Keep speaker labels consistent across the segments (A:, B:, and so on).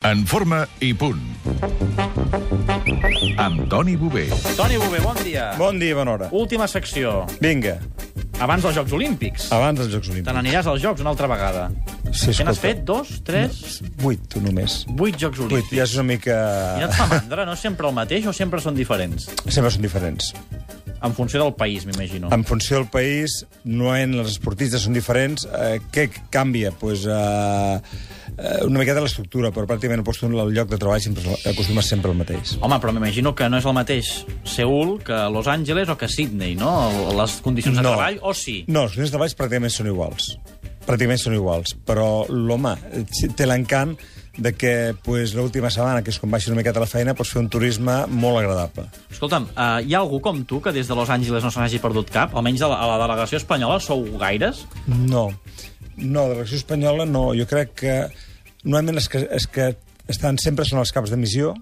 A: En forma i punt. Amb Toni Bové.
B: Toni Bové, bon dia.
C: Bon dia, bona hora.
B: Última secció.
C: Vinga,
B: Abans dels Jocs Olímpics.
C: abans dels Jocs
B: Te
C: Olímpics.
B: n'aniràs als Jocs una altra vegada.
C: Ah. Sí,
B: Què n'has
C: escolta.
B: fet? Dos? Tres?
C: Vuit, tu només.
B: Vuit Jocs
C: Vuit,
B: Olímpics.
C: ja és una mica...
B: I no et fa mandra? No és sempre el mateix o sempre són diferents?
C: Sempre són diferents.
B: En funció del país, m'imagino.
C: En funció del país, no en els esportistes són diferents. Eh, què canvia? Pues, eh, eh, una miqueta l'estructura, però pràcticament pues, tu, el lloc de treball sempre, és el- acostuma sempre el mateix.
B: Home, però m'imagino que no és el mateix Seul que Los Angeles o que Sydney, no? O Les condicions de treball, o sí?
C: No, els condicions de treball pràcticament són iguals. Pràcticament són iguals, però l'home eh, té l'encant de que pues, l'última setmana, que és quan baixes una miqueta a la feina, pots fer un turisme molt agradable.
B: Escolta'm, uh, hi ha algú com tu que des de Los Angeles no se n'hagi perdut cap? Almenys a la, a la delegació espanyola sou gaires?
C: No. No, de l'acció espanyola no. Jo crec que normalment els que, els que estan sempre són els caps de missió,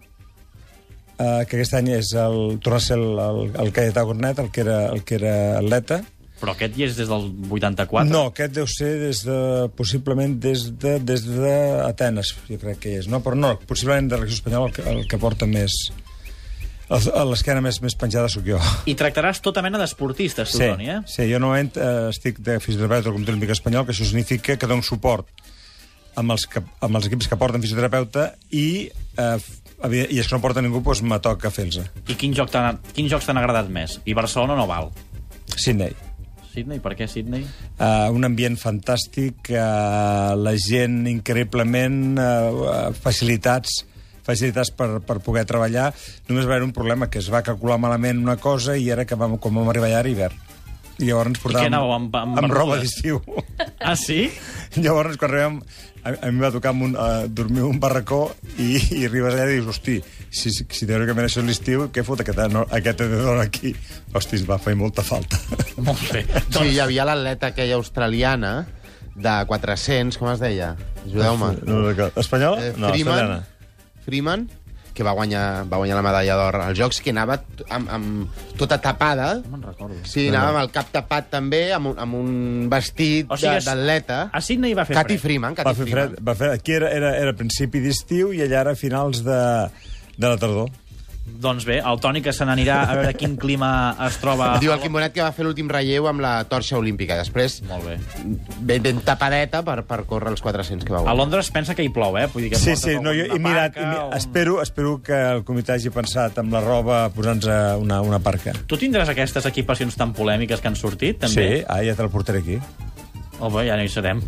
C: eh, que aquest any és el, torna a ser el, el, el Cayetà Gornet, el que era, el que era atleta.
B: Però aquest hi és des del 84.
C: No, aquest deu ser des de, possiblement des de, des de Atenes, jo crec que és. No? Però no, possiblement de l'acció espanyola el, que- el que porta més... el- a L'esquena més, més penjada sóc jo.
B: I tractaràs tota mena d'esportistes, tu,
C: Sí,
B: Toni, eh?
C: sí, jo normalment eh, estic de fisioterapeuta del Comitè Olímpic Espanyol, que això significa que dono suport amb els, que, amb els equips que porten fisioterapeuta i, eh, f- evident- i els que no porta ningú doncs me toca fer-los.
B: I quin joc t'han- quins jocs t'han agradat més? I Barcelona no val.
C: Sydney.
B: Sydney, per què Sydney?
C: Uh, un ambient fantàstic, uh, la gent increïblement, uh, facilitats facilitats per, per poder treballar. Només va haver un problema, que es va calcular malament una cosa i era que vam, com vam arribar allà era hivern. I llavors ens portàvem
B: anàveu, amb- amb
C: amb roba
B: bermudes?
C: d'estiu.
B: Ah, sí?
C: Llavors, quan arribem, a, a mi va tocar amb un, a dormir en un barracó i, i arribes allà i dius, hosti, si, si, si teòricament això és l'estiu, què fot aquest, no, aquest hedor aquí? Hosti, ens va fer molta falta.
B: Molt bé.
D: Sí, hi havia l'atleta aquella australiana de 400, com es deia? Ajudeu-me.
C: No, no, no, espanyola?
D: Eh,
C: no,
D: Freeman,
C: australiana.
D: Freeman, que va guanyar, va guanyar la medalla d'or als Jocs, que anava t- amb, amb tota tapada.
B: No me'n recordo.
D: Sí, anava amb el cap tapat també, amb un, amb un vestit
B: O sigui,
D: de-
B: a-
D: d'atleta.
B: a Sydney va fer
D: Cathy
B: fred.
D: Freeman, Cathy
C: Va fer fred,
D: Freeman.
C: va fer, aquí era, era, era principi d'estiu i allà era finals de, de la tardor.
B: Doncs bé, el Toni que se n'anirà a veure quin clima es troba...
D: Diu el Quim Bonet que va fer l'últim relleu amb la torxa olímpica. Després,
B: Molt bé.
D: ben, ben tapadeta per, per córrer els 400 que
B: A
D: va guanyar.
B: Londres pensa que hi plou, eh? Vull dir que
C: Sí,
B: portes
C: sí, no, jo
B: alguna
C: he mirat, he,
B: parca
C: mi-
B: o un-
C: espero, espero que el comitè hagi pensat amb la roba posant-nos una, una parca.
B: Tu tindràs aquestes equipacions tan polèmiques que han sortit, també?
C: Sí, ah, ja te la portaré aquí.
B: Oh, bé, ja no hi serem.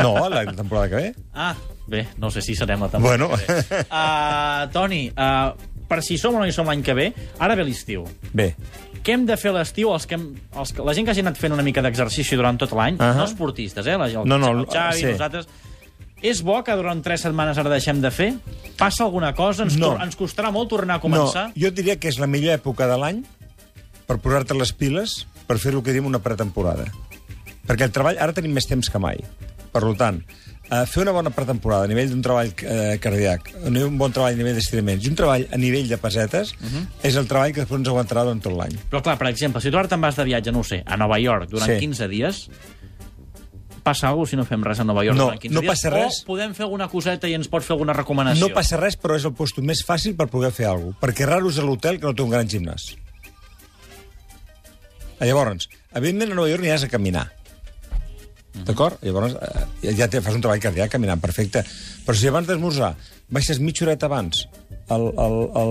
C: No, la temporada que ve.
B: Ah, bé, no sé si serem la temporada.
C: Bueno,
B: Uh, Toni, uh, per si som o no hi som l'any que ve, ara ve l'estiu.
C: bé.
B: Què hem de fer a l'estiu? Els que hem, els que, la gent que hagi anat fent una mica d'exercici durant tot l'any, uh
C: Ahà.
B: -huh. no esportistes, eh? La, el,
C: No, no,
B: el Xavi,
C: sí.
B: sí. nosaltres... És bo que durant tres setmanes ara deixem de fer? Passa alguna cosa? Ens,
C: No.
B: tor- ens costarà molt tornar a començar?
C: No, jo diria que és la millor època de l'any per posar-te les piles per fer el que diem una pretemporada. Perquè el treball, ara tenim més temps que mai. Per lo tant, eh, fer una bona pretemporada a nivell d'un treball eh, cardíac, a nivell- un bon treball a nivell d'estiraments i un treball a nivell de pessetes uh -huh. és el treball que després ens aguantarà durant tot l'any.
B: Però clar, per exemple, si tu ara te'n vas de viatge, no ho sé, a Nova York durant sí.
C: Sí.
B: 15 dies, passa alguna cosa si no fem res a Nova York
C: No,
B: durant 15
C: no
B: dies?
C: passa res.
B: O podem fer alguna coseta i ens pot fer alguna recomanació?
C: No passa res, però és el lloc més fàcil per poder fer alguna cosa, perquè raro és l'hotel que no té un gran gimnàs. Eh, Llavors, evidentment a Nova York aniràs a caminar. D'acord? Llavors eh, ja- ja te fas un treball cardíac caminant, perfecte. Però si abans d'esmorzar baixes mitja horeta abans al, al, al,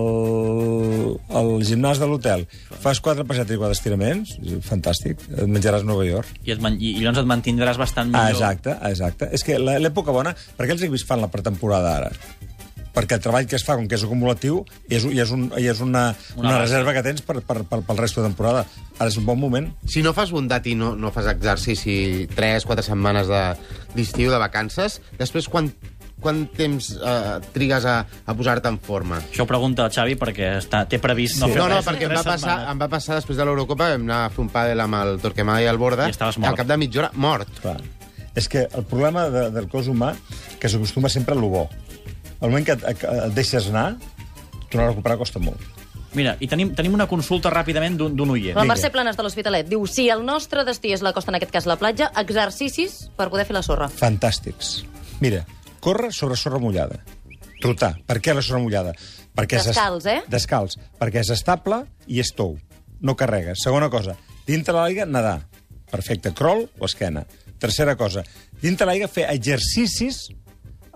C: al gimnàs de l'hotel, fas quatre passetes i quatre estiraments, fantàstic, et menjaràs a Nova York.
B: I, et, man- i, i llavors et mantindràs bastant
C: Ah,
B: millor.
C: exacte, exacte. És que la- l'època bona, per què els equips fan la pretemporada ara? Perquè el treball que es fa, com que és acumulatiu, i és, un- i és, un, i és una, una,
B: base.
C: reserva que tens per, per, per, pel resto de temporada. Ara és un bon moment.
D: Si no fas bondat i no, no fas exercici 3-4 setmanes de- d'estiu, de, de vacances, després quan, quant temps eh, trigues a, a posar-te en forma?
B: Això ho pregunta el Xavi perquè està, té previst no
D: No,
B: fer
D: no,
B: res en
D: perquè em
B: tres
D: va, passar,
B: setmanes.
D: em va passar després de l'Eurocopa, vam anar a fer un pàdel amb el Torquemada i el Borda,
B: I estaves
D: que
B: mort.
D: al cap de mitja hora, mort.
C: Clar. És que el problema de, del cos humà que s'acostuma sempre a lo bo. El moment que et, que et deixes anar, tornar a recuperar costa molt.
B: Mira, i tenim, tenim una consulta ràpidament d'un d'un oient.
E: La Mercè Planes de l'Hospitalet diu si el nostre destí és la costa, en aquest cas la platja, exercicis per poder fer la sorra.
C: Fantàstics. Mira, corre sobre sorra mullada. Trotar. Per què la sorra mullada? Perquè s'es-
E: Descalç, eh?
C: Descalç. Perquè és estable i és tou. No carrega. Segona cosa, dintre de l'aigua, nedar. Perfecte. Crol o esquena. Tercera cosa, dintre de l'aigua fer exercicis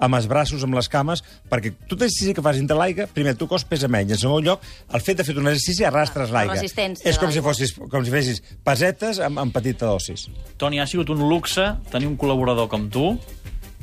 C: amb els braços, amb les cames, perquè tot exercici que fas dintre de l'aigua, primer, el teu cos pesa menys. En segon lloc, el fet de fer un exercici arrastres
E: Ah, amb
C: l'aigua.
E: assistència
C: És
E: de
C: com si,
E: l'aigua.
C: fossis, com si fessis pesetes amb, amb petita dosis.
B: Toni, ha sigut un luxe tenir un col·laborador com tu.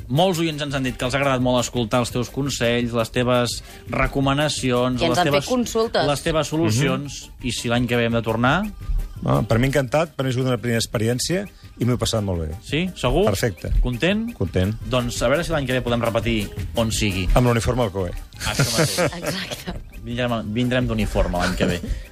B: Molts oients ens han dit que els ha agradat molt escoltar els teus consells, les teves recomanacions...
E: I ens
B: les
E: han fet
B: teves,
E: consultes.
B: Les teves solucions. I si l'any que ve hem de tornar...
C: No, Ah, per mi encantat, per mi ha sigut una primera experiència i m'ho he passat molt bé.
B: Sí? Segur?
C: Perfecte.
B: Content?
C: Content.
B: Doncs a veure si l'any que ve podem repetir on sigui.
C: Amb l'uniforme al COE.
B: Això mateix.
E: Exacte.
B: Vindrem, vindrem d'uniforme l'any que ve.